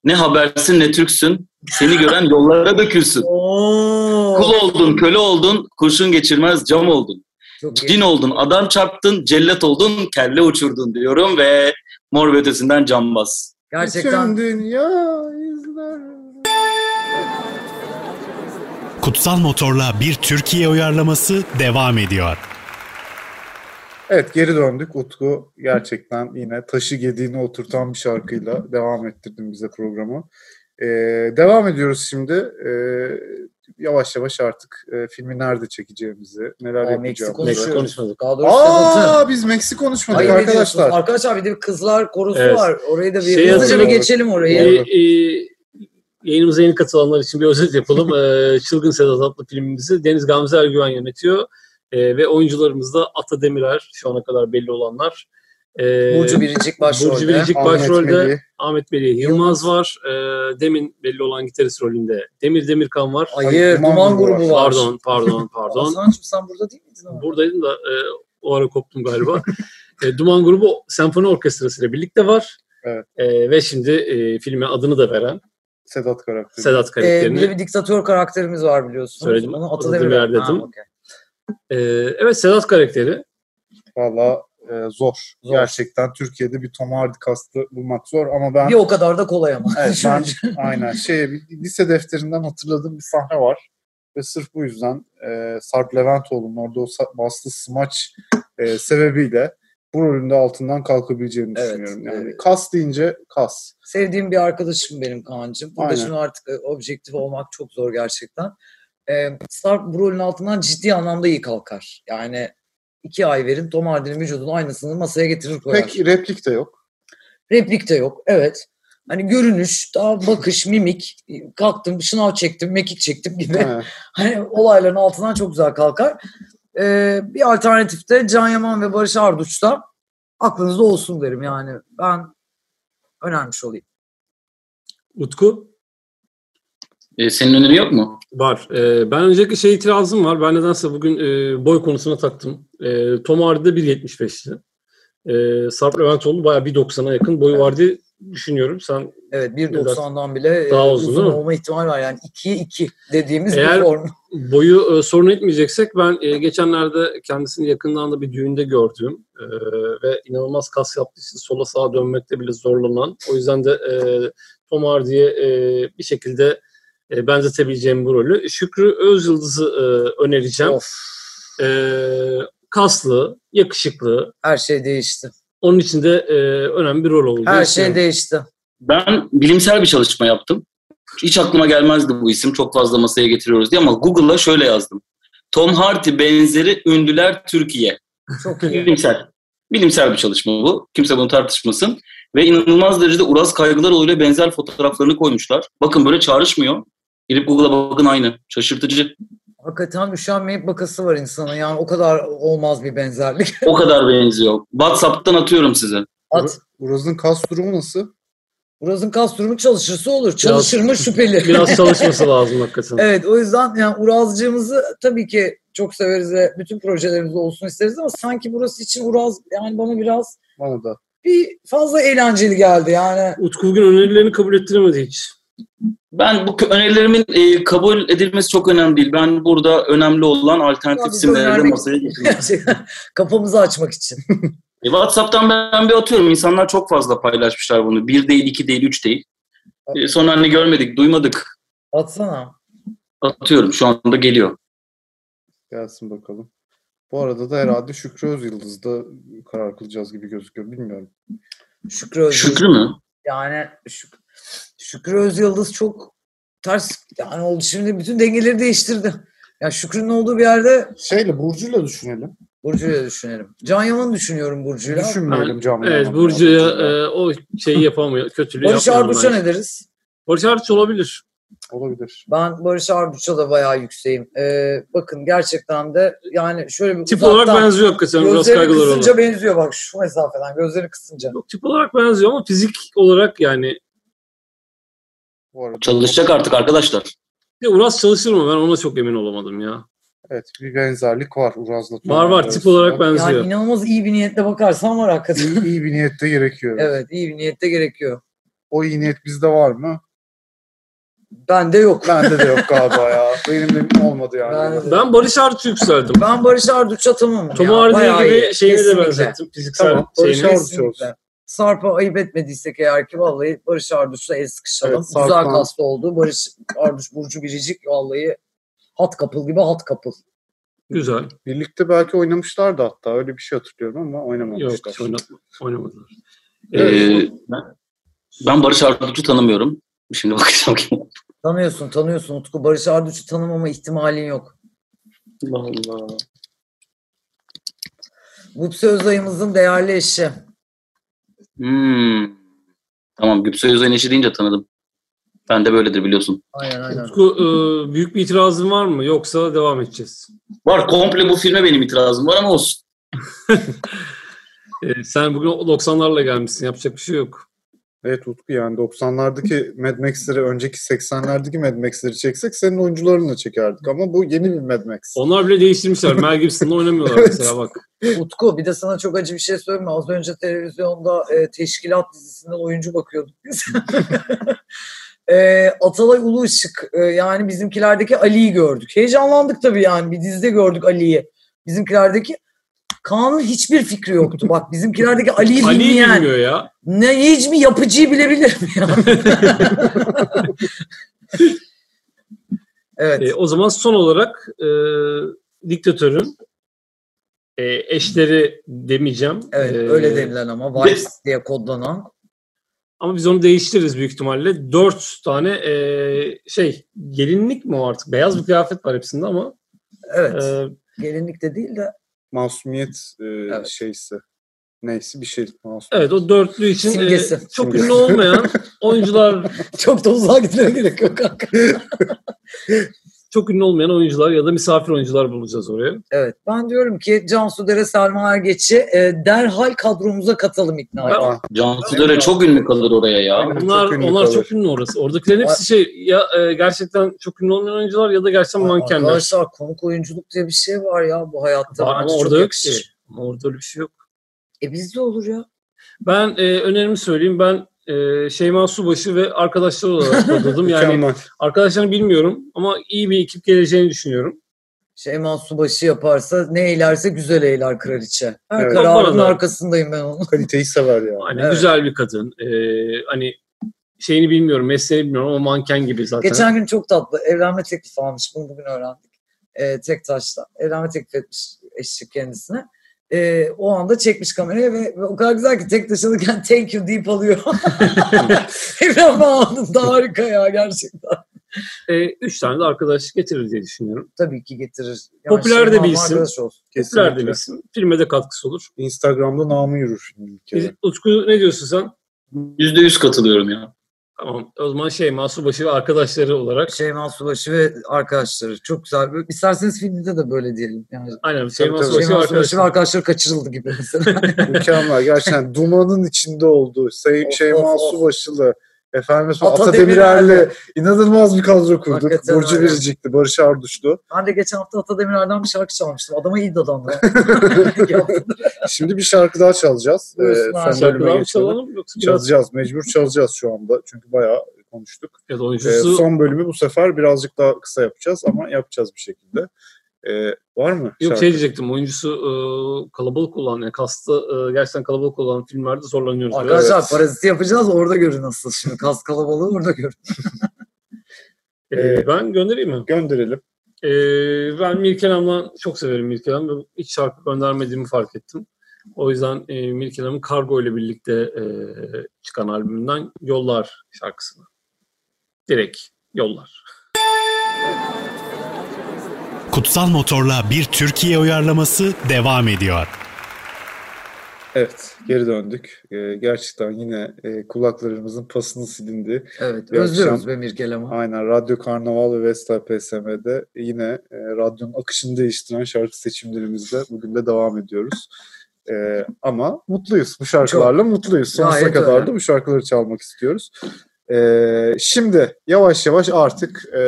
Ne habersin ne Türksün. Seni gören yollara dökülsün. Kul Oo. oldun, köle oldun, kurşun geçirmez cam oldun. Çok iyi. Cin oldun, adam çarptın, cellat oldun, kelle uçurdun diyorum ve mor ve ötesinden cambaz. Gerçekten Bütün dünya izler. Kutsal Motor'la bir Türkiye uyarlaması devam ediyor. Evet geri döndük. Utku gerçekten yine taşı gediğini oturtan bir şarkıyla devam ettirdin bize programı. Ee, devam ediyoruz şimdi. Ee, yavaş yavaş artık e, filmi nerede çekeceğimizi, neler Aa, yapacağımızı. Meksiko. Meksik konuşmadık. daha doğrusu Sedat'ı. Aa biz Meksik konuşmadık Hayır, arkadaşlar. arkadaşlar. Arkadaşlar bir de bir kızlar korosu Evet. var. Orayı da bir Şey hızlıca bir hatırlıyorum. geçelim orayı. Ee, e, yayınımıza yeni katılanlar için bir özet yapalım. Ee, Çılgın Sedat adlı filmimizi Deniz Gamze Ergüven yönetiyor. Ee, ve oyuncularımız da Ata Demirer şu ana kadar belli olanlar. Ee, Burcu Biricik başrolde. Burcu Biricik Ahmet başrolde. Melih. Ahmet Melih Yılmaz var. Ee, demin belli olan gitarist rolünde Demir Demirkan var. Hayır, Duman Duman grubu grubu var. Ee, Pardon, pardon, pardon. Hasan'cığım sen burada değil miydin? ama? Buradaydım da e, o ara koptum galiba. E, Duman grubu senfoni orkestrası ile birlikte var. Evet. E, ve şimdi e, filme adını da veren Sedat karakteri. Sedat Ee, bir karakterini. de bir diktatör karakterimiz var biliyorsun. Söyledim. Onu Atademir Atademir. Ha, dedim. okey. E, evet Sedat karakteri. Valla e, zor. Zor. Gerçekten Türkiye'de bir Tom Hardy kastı bulmak zor ama ben Bir o kadar da kolay ama. Evet, ben aynen. Şey, bir lise defterinden hatırladığım bir sahne var. Ve sırf bu yüzden e, Sarp Leventoğlu'nun orada o sa- baslı smaç e, sebebiyle bu rolünde altından kalkabileceğini Evet, düşünüyorum. Yani e- kas deyince kas. Sevdiğim bir arkadaşım benim Kaan'cığım. Burada Aynen. şimdi artık e, objektif olmak çok zor gerçekten. Ee, Sarp bu rolün altından ciddi anlamda iyi kalkar. Yani iki ay verin Tom Hardy'nin vücudunun aynısını masaya getirir koyar. Pek replik de yok. Replik de yok. Evet. Hani görünüş, daha bakış, mimik. Kalktım, şınav çektim, mekik çektim gibi. He. Hani olayların altından çok güzel kalkar. Ee, bir alternatif de Can Yaman ve Barış Arduç da aklınızda olsun derim yani. Ben önermiş olayım. Utku E, senin önerin yok mu? var. E, ben önceki şey itirazım var. Ben nedense bugün e, boy konusuna taktım. E, Tom Hardy'de 1.75'ti. E, Sarp Leventoğlu bayağı 1.90'a yakın boyu var diye düşünüyorum. Sen Evet 1.90'dan bile Daha e, uzun uzun değil mi? olma ihtimali var. Yani 2'ye 2 dediğimiz Eğer- bir form. Boyu e, sorun etmeyeceksek ben e, geçenlerde kendisini yakından da bir düğünde gördüm E, ve inanılmaz kas yaptığı için sola sağa dönmekte bile zorlanan. O yüzden de e, Tom Hardy'ye e, bir şekilde e, benzetebileceğim bu rolü. Şükrü Özyıldız'ı e, önereceğim. Of, E, kaslı, yakışıklı. her şey değişti. Onun için de e, önemli bir rol oldu. Her şey değişti. Ben bilimsel bir çalışma yaptım. Hiç aklıma gelmezdi bu isim. Çok fazla masaya getiriyoruz diye ama Google'a şöyle yazdım. Tom Hardy benzeri ünlüler Türkiye. Çok iyi. Bilimsel. Bilimsel bir çalışma bu. Kimse bunu tartışmasın. Ve inanılmaz derecede Uraz Kaygılaroğlu ile benzer fotoğraflarını koymuşlar. Bakın böyle çağrışmıyor. Girip Google'a bakın aynı. Şaşırtıcı. Hakikaten üşenmeyip bakası var insanın. Yani o kadar olmaz bir benzerlik. O kadar benziyor. WhatsApp'tan atıyorum size. At. Uraz'ın kas durumu nasıl? Uraz'ın kas durumu çalışırsa olur. Çalışır mı şüpheli. Biraz çalışması lazım hakikaten. Evet o yüzden yani Urazcığımızı tabii ki çok severiz ve bütün projelerimiz olsun isteriz ama sanki burası için Uraz yani bana biraz Bana da. bir fazla eğlenceli geldi yani. Utku bugün önerilerini kabul ettiremedi hiç. Ben bu kö- önerilerimin e, kabul edilmesi çok önemli değil. Ben burada önemli olan Biraz alternatif da isimleri de önermek- masaya getirdim. Gerçekten kafamızı açmak için. E, WhatsApp'tan ben bir atıyorum. İnsanlar çok fazla paylaşmışlar bunu. Bir değil, iki değil, üç değil. E, sonra hani görmedik, duymadık. Atsana. Atıyorum. Şu anda geliyor. Gelsin bakalım. Bu arada da herhalde Şükrü Özyıldız'da karar kılacağız gibi gözüküyor. Bilmiyorum. Şükrü Özyıldız. Şükrü mü? Yani Şük- Şükrü Özyıldız çok ters yani oldu şimdi bütün dengeleri değiştirdi. Ya Şükrü'nün olduğu bir yerde Şeyle Burcu'yla düşünelim. Burcu'yla düşünelim. Can Yaman'ı düşünüyorum Burcu'yla. Düşünmeyelim Can Evet Yaman'la. Burcu'ya e, o şeyi yapamıyor. Kötülüğü Barış yapmıyor Arduç'a bence. ne deriz? Barış Arduç olabilir. Olabilir. Ben Barış Arduç'a da bayağı yükseğim. Ee, bakın gerçekten de yani şöyle bir Tip olarak uzaktan benziyor hakikaten biraz gözleri kaygılar kısınca olan. benziyor bak şu mesafeden gözleri kısınca. Yok tip olarak benziyor ama fizik olarak yani. Bu arada Çalışacak artık arkadaşlar. Ya Uras çalışır mı? Ben ona çok emin olamadım ya. Evet bir benzerlik var Uraz'la. Var var tip olarak benziyor. Yani inanılmaz iyi bir niyetle bakarsan var hakikaten. İyi, iyi bir niyette gerekiyor. evet iyi bir niyette gerekiyor. O iyi niyet bizde var mı? Bende yok. Bende de yok galiba ya. Benim de olmadı yani. Ben- Ben Barış Arduç'u yükseldim. Ben Barış Arduç'a tamamım. Tom ya, bayağı Hardy gibi iyi. şeyine de Kesinlikle. benzettim. Fiziksel Tamam. Barış şeyini. Kesinlikle. Arduç olsun. Sarp'a ayıp etmediysek eğer ki vallahi Barış Arduç'la el sıkışalım. Evet, Güzel Sarp'tan- kasta oldu. Barış Arduç, Burcu Biricik vallahi hat kapıl gibi hat kapıl. Güzel. Birlikte belki oynamışlardı hatta. Öyle bir şey hatırlıyorum ama Yok oynamamışlar. hiç oynatma- oynamadılar. Ee, Ee, ben- ben Barış Arduç'u tanımıyorum. Şimdi bakacağım kim. Tanıyorsun, tanıyorsun Utku. Barış Arduç'u tanımama ihtimalin yok. Allah. Gupse Özay'ımızın değerli eşi. Hmm. Tamam Gübse Özay'ın eşi deyince tanıdım. Ben de böyledir biliyorsun. Aynen aynen. Utku, e, büyük bir itirazın var mı? Yoksa devam edeceğiz. Var komple bu filme benim itirazım var ama olsun. E, sen bugün 90'larla gelmişsin. Yapacak bir şey yok. Evet Utku yani 90'lardaki Mad Max'leri önceki 80'lerdeki Mad Max'leri çeksek senin oyuncularını da çekerdik ama bu yeni bir Mad Max. Onlar bile değiştirmişler. Mel Gibson'la oynamıyorlar mesela bak. Utku bir de sana çok acı bir şey söyleyeyim mi? Az önce televizyonda e, teşkilat dizisinden oyuncu bakıyorduk biz. e, Atalay Ulu Işık e, yani bizimkilerdeki Ali'yi gördük. Heyecanlandık tabii yani bir dizide gördük Ali'yi. Bizimkilerdeki Kaan'ın hiçbir fikri yoktu. Bak bizimkilerdeki Ali'yi Ali bilmeyen bilmiyor ya. ne hiç mi yapıcıyı bilebilir mi ya? evet. E, o zaman son olarak e, diktatörün e, eşleri demeyeceğim. Evet, E, öyle denilen ama Vice diye kodlanan. Ama biz onu değiştiririz büyük ihtimalle. Dört tane e, şey gelinlik mi o artık? Beyaz bir kıyafet var hepsinde ama Evet. e, gelinlik de değil de Masumiyet e, Evet. şeysi. Neyse bir şey masumiyet. evet o dörtlü için e, Simgesi. çok Simgesi. ünlü olmayan oyuncular çok da uzağa gitmeye gerek yok kanka. çok ünlü olmayan oyuncular ya da misafir oyuncular bulacağız oraya. Evet ben diyorum ki Cansu Dere Selma Ergeç'i e, derhal kadromuza katalım ikna Ben- edin. Ah, Cansu Dere çok ünlü kalır oraya ya. Aynen. Çok Onlar ünlü onlar kalır. çok ünlü orası. Oradakilerin hepsi şey ya e, gerçekten çok ünlü olmayan oyuncular ya da gerçekten mankenler. Arkadaşlar konuk oyunculuk diye bir şey var ya bu hayatta. Var ama Bence çok orada yok ki. yakışır. Ama Orada öyle bir şey yok. E bizde olur ya. Ben e, önerimi söyleyeyim. Ben e, Şeyma Subaşı ve arkadaşlar olarak katıldım. yani mükemmel. arkadaşlarını bilmiyorum ama iyi bir ekip geleceğini düşünüyorum. Şeyma Subaşı yaparsa ne eylerse güzel eyler kraliçe. Her Evet. kararın Bana da. arkasındayım ben onun. Kaliteyi sever ya. Hani Evet. güzel bir kadın. E, hani şeyini bilmiyorum, mesleğini bilmiyorum ama manken gibi zaten. Geçen gün çok tatlı evlenme teklifi almış. Bunu bugün öğrendik. Ee, tek taşla. Evlenme teklif etmiş eşi kendisine. Ee, o anda çekmiş kamerayı ve, ve o kadar güzel ki tek taş alırken thank you deyip alıyor. evlenme anında harika ya gerçekten. E, üç tane de arkadaş getirir diye düşünüyorum. Tabii ki getirir. Popüler Şeyma de bir Hanım isim. arkadaş olsun. Popüler de bir Kesinlikle. isim. Filme de katkısı olur. Instagram'da namı yürür şimdi bir Biz- kere. Utku ne diyorsun sen? Yüzde yüz katılıyorum ya. Tamam. O zaman Şeyma Subaşı ve arkadaşları olarak Şeyma Subaşı ve arkadaşları. Çok güzel. Böyle- İsterseniz filmde de böyle diyelim. Yani Aynen Şeyma tabii. Subaşı ve Şeyma Subaşı ve arkadaşları. arkadaşları kaçırıldı gibi mesela. mükemmel. Gerçekten dumanın içinde olduğu Sayın Of, şey of, of. Subaşılı. Efendim Ata Ata Demirer'le. Demirer'le inanılmaz bir kadro kurduk. Hakikaten Burcu öyle. Biricik'ti, Barış Arduç'tu. ben de geçen hafta Ata Demirer'den bir şarkı çalmıştım. Adama iyi dadandı. Şimdi bir şarkı daha çalacağız. Ee, Buyursun abi. son bölüme Şarkılar mı geçelim. çalalım yoksa biraz Çalacağız. Mecbur çalacağız şu anda. Çünkü bayağı konuştuk. ya da Ee, oyuncusu son bölümü bu sefer birazcık daha kısa yapacağız ama yapacağız bir şekilde. Ee, var mı? Yok şarkı? şey diyecektim oyuncusu e, kalabalık olan yani kastı e, gerçekten kalabalık olan filmlerde zorlanıyoruz. biraz. Arkadaşlar paraziti yapacağız orada görün nasıl. Şimdi kas kalabalığı orada görün. E, ben göndereyim mi? Gönderelim. E, ben Mirkelam'dan çok severim Mirkelam. Hiç şarkı göndermediğimi fark ettim. O yüzden e, Mirkelam'ın Kargo ile birlikte e, çıkan albümünden Yollar şarkısını. Direkt Yollar. Kutsal Motor'la bir Türkiye uyarlaması devam ediyor. Evet, geri döndük. Ee, gerçekten yine e, kulaklarımızın pasını silindi. Evet Bir özlüyoruz akşam- be Mirkelam'ı. Aynen Radyo Karnaval ve Vestel PSM'de yine e, radyonun akışını değiştiren şarkı seçimlerimizle bugün de devam ediyoruz. E, ama mutluyuz. Bu şarkılarla mutluyuz. Sonsuza Gayet kadar öyle. da bu şarkıları çalmak istiyoruz. E, şimdi yavaş yavaş artık e,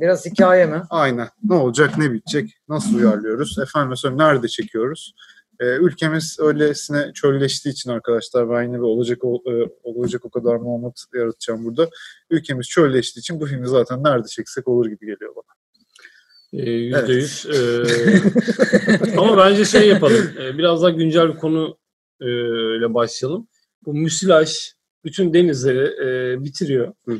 Biraz hikaye mi? Aynen. Ne olacak, ne bitecek, nasıl uyarlıyoruz? Efendim mesela nerede çekiyoruz? Ee, ülkemiz öylesine çölleştiği için arkadaşlar ben yine bir olacak o, e, olacak o kadar muhabbet yaratacağım burada. Ülkemiz çölleştiği için bu filmi zaten nerede çeksek olur gibi geliyor bana. E, %100. e, ama bence şey yapalım. e, biraz daha güncel bir konu e, ile başlayalım. Bu müsilaj bütün denizleri e, bitiriyor. E,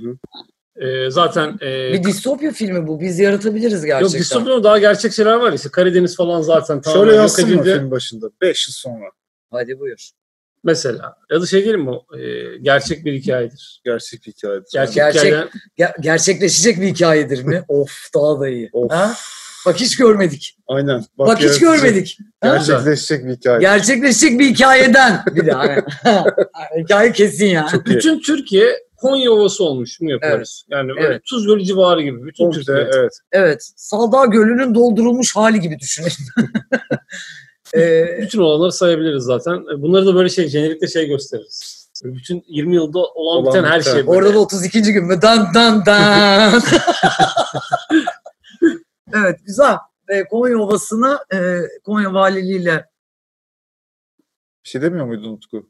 zaten e, Bir distopya filmi bu. Biz yaratabiliriz yok gerçekten. distopyanın daha gerçek şeyler var ya. İşte Karadeniz falan zaten tamamen Şöyle yok yazsın mı edildi. film başında? 5 yıl sonra. Hadi buyur. Mesela. Ya da şey diyelim mi? o, e, gerçek bir hikayedir. Gerçek bir hikaye. Gerçek, Gerçek- hikayeden- Ger- gerçekleşecek bir hikayedir mi? of daha da iyi. Of. Ha? Bak hiç görmedik. Aynen. Bak, hiç yaratacak. görmedik. Ha? Gerçekleşecek bir hikaye. Gerçekleşecek bir hikayeden. Bir daha. Hikaye kesin ya. iyi. bütün Türkiye Konya Ovası olmuş mu yapıyoruz? Yani böyle Evet. Tuz Gölü civarı gibi. Bütün Komple, Türkiye. evet. Evet. Saldağ Gölü'nün doldurulmuş hali gibi düşünün. Ee, Bütün olanları sayabiliriz zaten. Bunları da böyle şey jenerikte şey gösteririz. Bütün 20 yılda olan Olan biten her biten. şey. böyle. orada da 32. gün mü? Dan dan dan. evet güzel. Ee, Konya Ovası'na e, Konya Valiliği'yle Bir şey demiyor muydun Utku?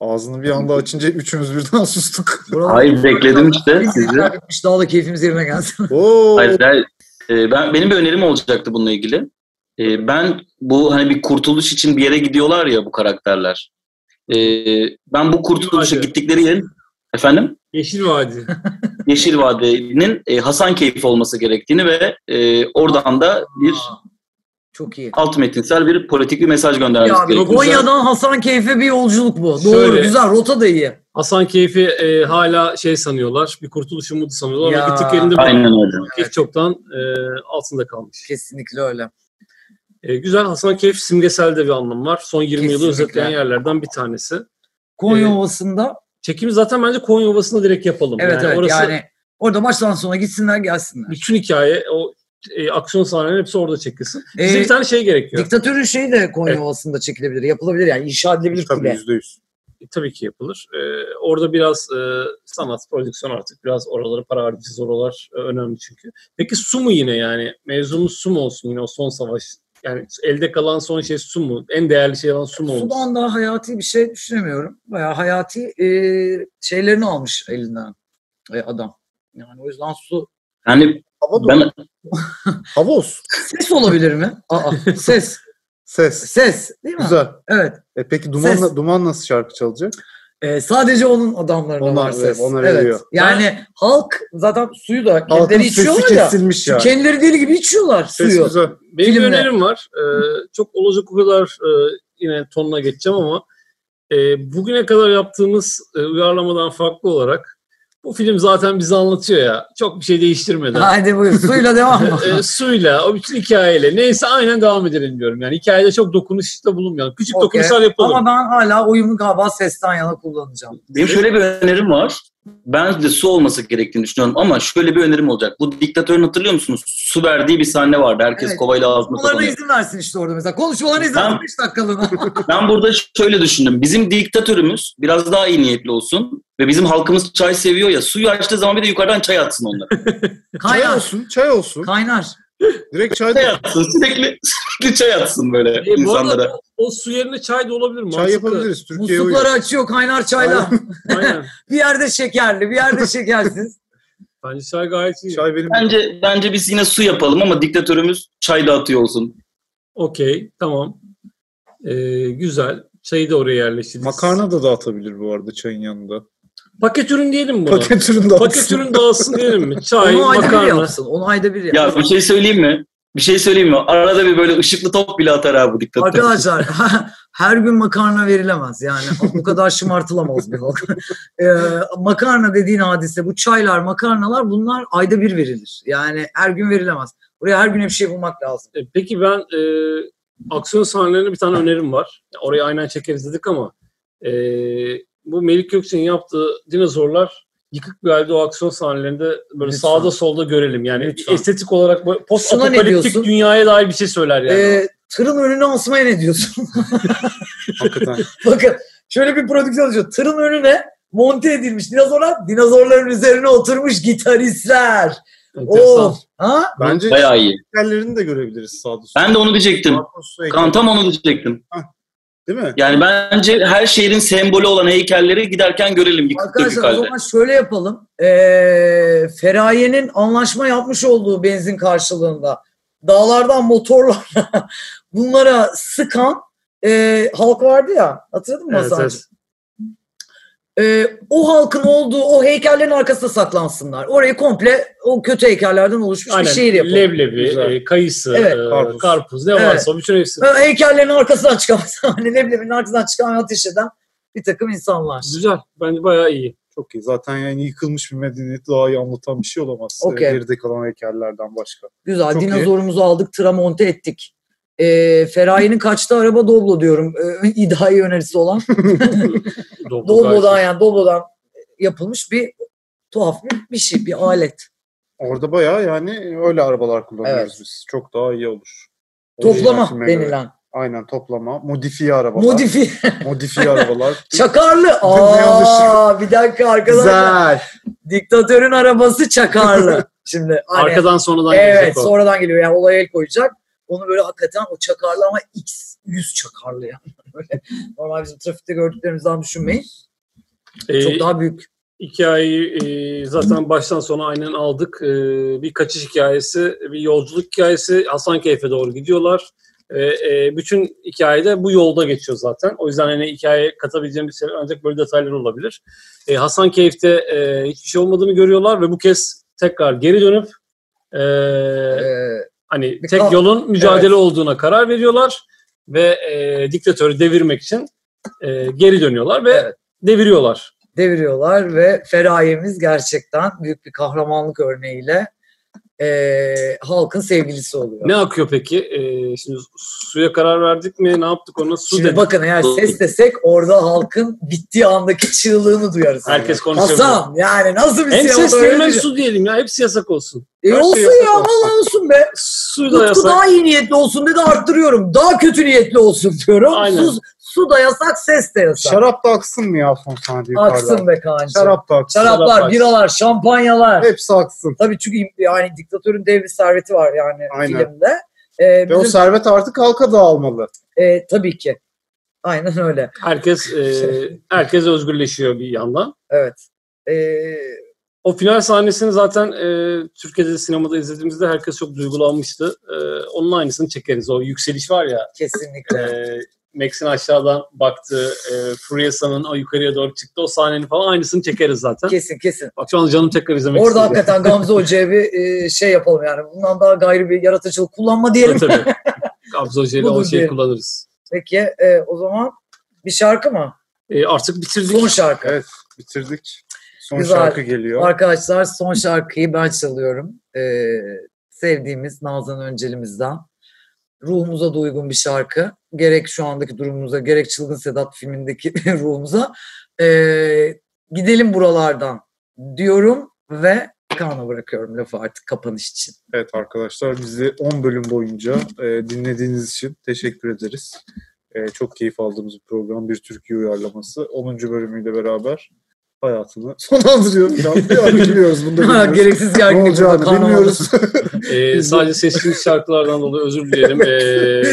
Ağzını bir anda açınca üçümüz birden sustuk. Hayır, bekledim işte Biz sizi. ikna etmiş, Daha da keyfimiz yerine gelsin. Oo. Hayır, hayır. Ee, ben benim bir önerim olacaktı bununla ilgili. Ee, ben bu hani bir kurtuluş için bir yere gidiyorlar ya bu karakterler. Ee, ben bu kurtuluşa Vadi. gittikleri yerin efendim Yeşil Vadi. Yeşil Vadi'nin e, Hasankeyf olması gerektiğini ve e, oradan da bir Çok iyi. alt metinsel bir politik bir mesaj göndermesi Ya gerekiyor. Konya'dan Hasankeyf'e bir yolculuk bu. Doğru, Şöyle. güzel. Rota da iyi. Hasankeyf'i e, hala şey sanıyorlar. Bir kurtuluş umudu sanıyorlar. Ya. Ama bir tık yerinde bu. Aynen öyle. Keyif çoktan e, altında kalmış. Kesinlikle öyle. E, güzel Hasankeyf simgesel de bir anlam var. Son 20 yılı Kesinlikle. özetleyen yerlerden bir tanesi. Konya Evet. Ovası'nda Çekimi zaten bence Konya Ovası'nda direkt yapalım. evet yani evet orası yani orada baştan sona gitsinler gelsinler. bütün hikaye o e, aksiyon sahneleri hepsi orada çekilsin. Bize Ee, bir tane şey gerekiyor. Diktatörün şeyi de Konya Evet. Ovası'nda çekilebilir. Yapılabilir yani inşa edilebilir Tabii kule. yüzde yüz. Tabii ki yapılır. E, orada biraz e, sanat, prodüksiyon artık biraz oraları para harcayacağız. Oralar e, önemli çünkü. Peki su mu yine yani? Mevzumuz su mu olsun yine o son savaş? Yani elde kalan son şey su mu? En değerli şey olan su mu olsun? Sudan daha hayati bir şey düşünemiyorum. Bayağı hayati e, şeylerini almış elinden e, adam. Yani o yüzden su. Yani Hava ben... ben Havuz. Ses olabilir mi? Aa, ses. Ses. Ses değil mi? Güzel. Evet. E peki duman, Ses. duman nasıl şarkı çalacak? E, sadece onun adamlarına Onlar var ses. ve- onlar evet. veriyor. Yani halk zaten suyu da Halkın kendileri sesi E, içiyorlar da. kesilmiş ya. Kendileri deli gibi içiyorlar Ses suyu. güzel. Benim Filmle. bir önerim var. Ee, çok olacak o kadar e, yine tonuna geçeceğim ama e, bugüne kadar yaptığımız e, uyarlamadan farklı olarak bu film zaten bize anlatıyor ya. Çok bir şey değiştirmeden. Hadi buyur suyla devam. E, suyla, o bütün hikayeyle neyse aynen devam edelim diyorum. Yani hikayede çok dokunuşta bulunmayalım. Küçük Okey. dokunuşlar yapalım. Ama ben hala oyumu galiba sesten yana kullanacağım. benim şöyle bir önerim var. Ben de su olması gerektiğini düşünüyorum ama şöyle bir önerim olacak. Bu diktatörün hatırlıyor musunuz? Su verdiği bir sahne vardı. Herkes Evet. kovayla ağzına Konuşmalarına sokuyor. izin versin işte orada mesela. Konuşmalarına izin Ben- versin 5 dakikalığına. Ben burada şöyle düşündüm. Bizim diktatörümüz biraz daha iyi niyetli olsun ve bizim halkımız çay seviyor ya. Suyu açtığı zaman bir de yukarıdan çay atsın onlara. Çay Kaynar. olsun, çay olsun. Kaynar. Direkt çay Çay atsın. Sürekli, sürekli çay atsın böyle E, bu arada insanlara. o- o su yerine çay da olabilir mi? Çay yapabiliriz. Türkiye'ye uyuyor. Muslukları açıyor kaynar çayla. Şey Aynen. bir yerde şekerli, bir yerde şekersiz. Bence çay gayet iyi. Çay benim. Bence bence biz yine su yapalım ama diktatörümüz çay dağıtıyor olsun. Okey, tamam. E, güzel. Çayı da oraya yerleştirdik. Makarna da dağıtabilir bu arada çayın yanında. Paket ürün diyelim mi buna? Paket ürün dağıtsın. Paket ürün dağılsın diyelim mi? Çay, Onu ayda bir makarna. yapsın. Onu ayda bir yapsın. Ya bir şey söyleyeyim mi? Bir şey söyleyeyim mi? Arada bir böyle ışıklı top bile atar abi bu diktatör. Arkadaşlar her gün makarna verilemez yani bu kadar şımartılamaz bir halk. Ee, makarna dediğin hadise bu çaylar makarnalar bunlar ayda bir verilir. Yani her gün verilemez. Buraya her gün bir şey bulmak lazım. E, Peki ben e, aksiyon sahnelerine bir tane önerim var. Orayı aynen çekeriz dedik ama e, bu Melik Gökçe'nin yaptığı dinozorlar yıkık bir halde o aksiyon sahnelerinde böyle Lütfen. sağda solda görelim. Yani Lütfen. estetik olarak böyle post Şuna ne apokaliptik diyorsun? dünyaya dair bir şey söyler yani. Ee, tırın önüne asmaya ne diyorsun? Hakikaten. Bakın şöyle bir prodüksiyon oluşuyor. Tırın önüne monte edilmiş dinozorlar, dinozorların üzerine oturmuş gitaristler. Enteresan. Oo, ha? Bence Bayağı iyi. şekerlerini de görebiliriz sağda solda. Ben de onu diyecektim. Marcos'u ekle- Kan tam onu diyecektim. Değil mi? Yani bence her şehrin sembolü olan heykelleri giderken görelim yıkık dökük Arkadaşlar o halde. zaman şöyle yapalım. Ee, Feraye'nin anlaşma yapmış olduğu benzin karşılığında dağlardan motorlarla bunlara sıkan e, halk vardı ya. Hatırladın mı Evet, Hasan'cığım? evet. Ee, o halkın olduğu o heykellerin arkasında saklansınlar. Orayı komple o kötü heykellerden oluşmuş bir Aynen. şehir yapalım. Leblebi, Güzel. e, kayısı, Evet. e, Karpuz. karpuz. ne Evet. varsa bütün hepsi. Ee, heykellerin arkasından çıkan, hani leblebinin arkasından çıkan ateş eden bir takım insanlar. Güzel. Bence bayağı iyi. Çok iyi. Zaten yani yıkılmış bir medeniyeti daha iyi anlatan bir şey olamaz. Okey. Ee, Geride kalan heykellerden başka. Güzel. Çok iyi. dinozorumuzu aldık, tramonte ettik. Ee, Feraye'nin kaçtı araba Doblo diyorum. Ee, iddiayı önerisi olan. Doğru, gayet iyi. şey. Doblo'dan yani Doblo'dan yapılmış bir tuhaf bir, bir şey, bir alet. Orada bayağı yani öyle arabalar kullanıyoruz Evet. biz. Çok daha iyi olur. Toplama Orijinal filme göre. denilen. Aynen toplama. Modifiye arabalar. Modifi, modifiye arabalar. çakarlı. Aa, bir dakika arkadaşlar. Güzel. Diktatörün arabası çakarlı. Şimdi hani- Arkadan sonradan Evet gelecek o. sonradan geliyor yani olaya el koyacak. Onu böyle hakikaten o çakarlı ama x 100 çakarlı yani. Böyle normal bizim trafikte gördüklerimizden düşünmeyin. Ee, Çok daha büyük. Hikayeyi e, zaten baştan sona aynen aldık. E, bir kaçış hikayesi, bir yolculuk hikayesi. Hasankeyf'e doğru gidiyorlar. E, e, bütün hikayede bu yolda geçiyor zaten. O yüzden hani hikayeye katabileceğimiz şey ancak böyle detaylar olabilir. E, Hasankeyf'te e, hiçbir şey olmadığını görüyorlar ve bu kez tekrar geri dönüp e, Ee, hani bir tek kal- yolun mücadele olduğuna karar veriyorlar ve e, diktatörü devirmek için e, geri dönüyorlar ve Evet. deviriyorlar. deviriyorlar ve Feraye'miz gerçekten büyük bir kahramanlık örneğiyle ee, halkın sevgilisi oluyor. Ne akıyor peki? Ee, şimdi suya karar verdik mi? Ne yaptık ona? Su Şimdi dedik. bakın eğer ses desek orada halkın bittiği andaki çığlığını duyarız. Herkes konuşuyor. Hasan yani nasıl bir Hem sinema ses böyle diyelim hem bir- su diyelim ya. Hepsi yasak olsun. E her şey olsun yasak ya olsun. vallahi olsun be. Su da Utku yasak. daha iyi niyetli olsun dedi arttırıyorum. Daha kötü niyetli olsun diyorum. Aynen. Su, su da yasak, ses de yasak. Şarap da aksın mı ya son sahnede yukarıda? aksın be kancı. Şarap da aksın. Şaraplar, şarap aksın. biralar, şampanyalar. Hepsi aksın. Tabii çünkü yani diktatörün dev bir serveti var yani Aynen. filmde. Ee, Ve o bizim, servet artık halka dağılmalı. e, tabii ki. Aynen öyle. Herkes e, herkes özgürleşiyor bir yandan. Evet. Ee, O final sahnesini zaten e, Türkiye'de de sinemada izlediğimizde herkes çok duygulanmıştı. E, onun aynısını çekeriz. O yükseliş var ya. kesinlikle. E, Max'in aşağıdan baktığı, e, Furiasa'nın o yukarıya doğru çıktı. O sahnenin falan aynısını çekeriz zaten. Kesin kesin. Bak şu an canım tekrar izlemek Orada istedi. hakikaten Gamze Hoca'ya bir e, şey yapalım yani. Bundan daha gayri bir yaratıcılık kullanma diyelim. Tabii tabii. Kabzo jeli o Budur şeyi diyelim. kullanırız. Peki e, o zaman bir şarkı mı? E, artık bitirdik. Son şarkı. Evet bitirdik. Son Güzel. şarkı geliyor. Arkadaşlar son şarkıyı ben çalıyorum. Ee, sevdiğimiz Nazan Öncelimizden. Ruhumuza da uygun bir şarkı. Gerek şu andaki durumumuza gerek Çılgın Sedat filmindeki ruhumuza. Ee, gidelim buralardan diyorum ve Kaan'a bırakıyorum lafı artık kapanış için. Evet arkadaşlar bizi 10 bölüm boyunca e, dinlediğiniz için teşekkür ederiz. E, çok keyif aldığımız bir program. Bir Türkiye uyarlaması. 10. bölümüyle beraber hayatını sonlandırıyor. falan. Ya, bilmiyoruz bunu da bilmiyoruz. Gereksiz ne gerginlik. olacağını Kaan bilmiyoruz. E, sadece seçtiğimiz şarkılardan dolayı özür dilerim. E,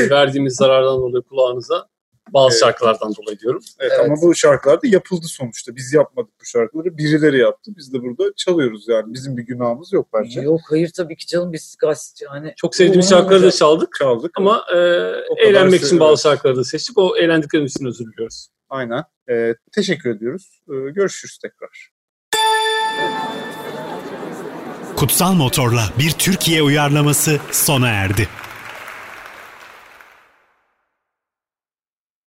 verdiğimiz zarardan dolayı kulağınıza. Bazı Evet. şarkılardan dolayı diyorum. evet, Evet. Ama bu şarkılar da yapıldı sonuçta. Biz yapmadık bu şarkıları. Birileri yaptı. Biz de burada çalıyoruz yani. Bizim bir günahımız yok bence. Yok hayır tabii ki canım biz gaz- yani Çok sevdiğimiz şarkıları da çaldık. Çaldık. Ama e, kadar eğlenmek için seviyoruz. bazı şarkıları da seçtik. O eğlendiklerimiz için özür diliyoruz. Aynen. E, teşekkür ediyoruz. E, görüşürüz tekrar. Kutsal Motor'la bir Türkiye uyarlaması sona erdi.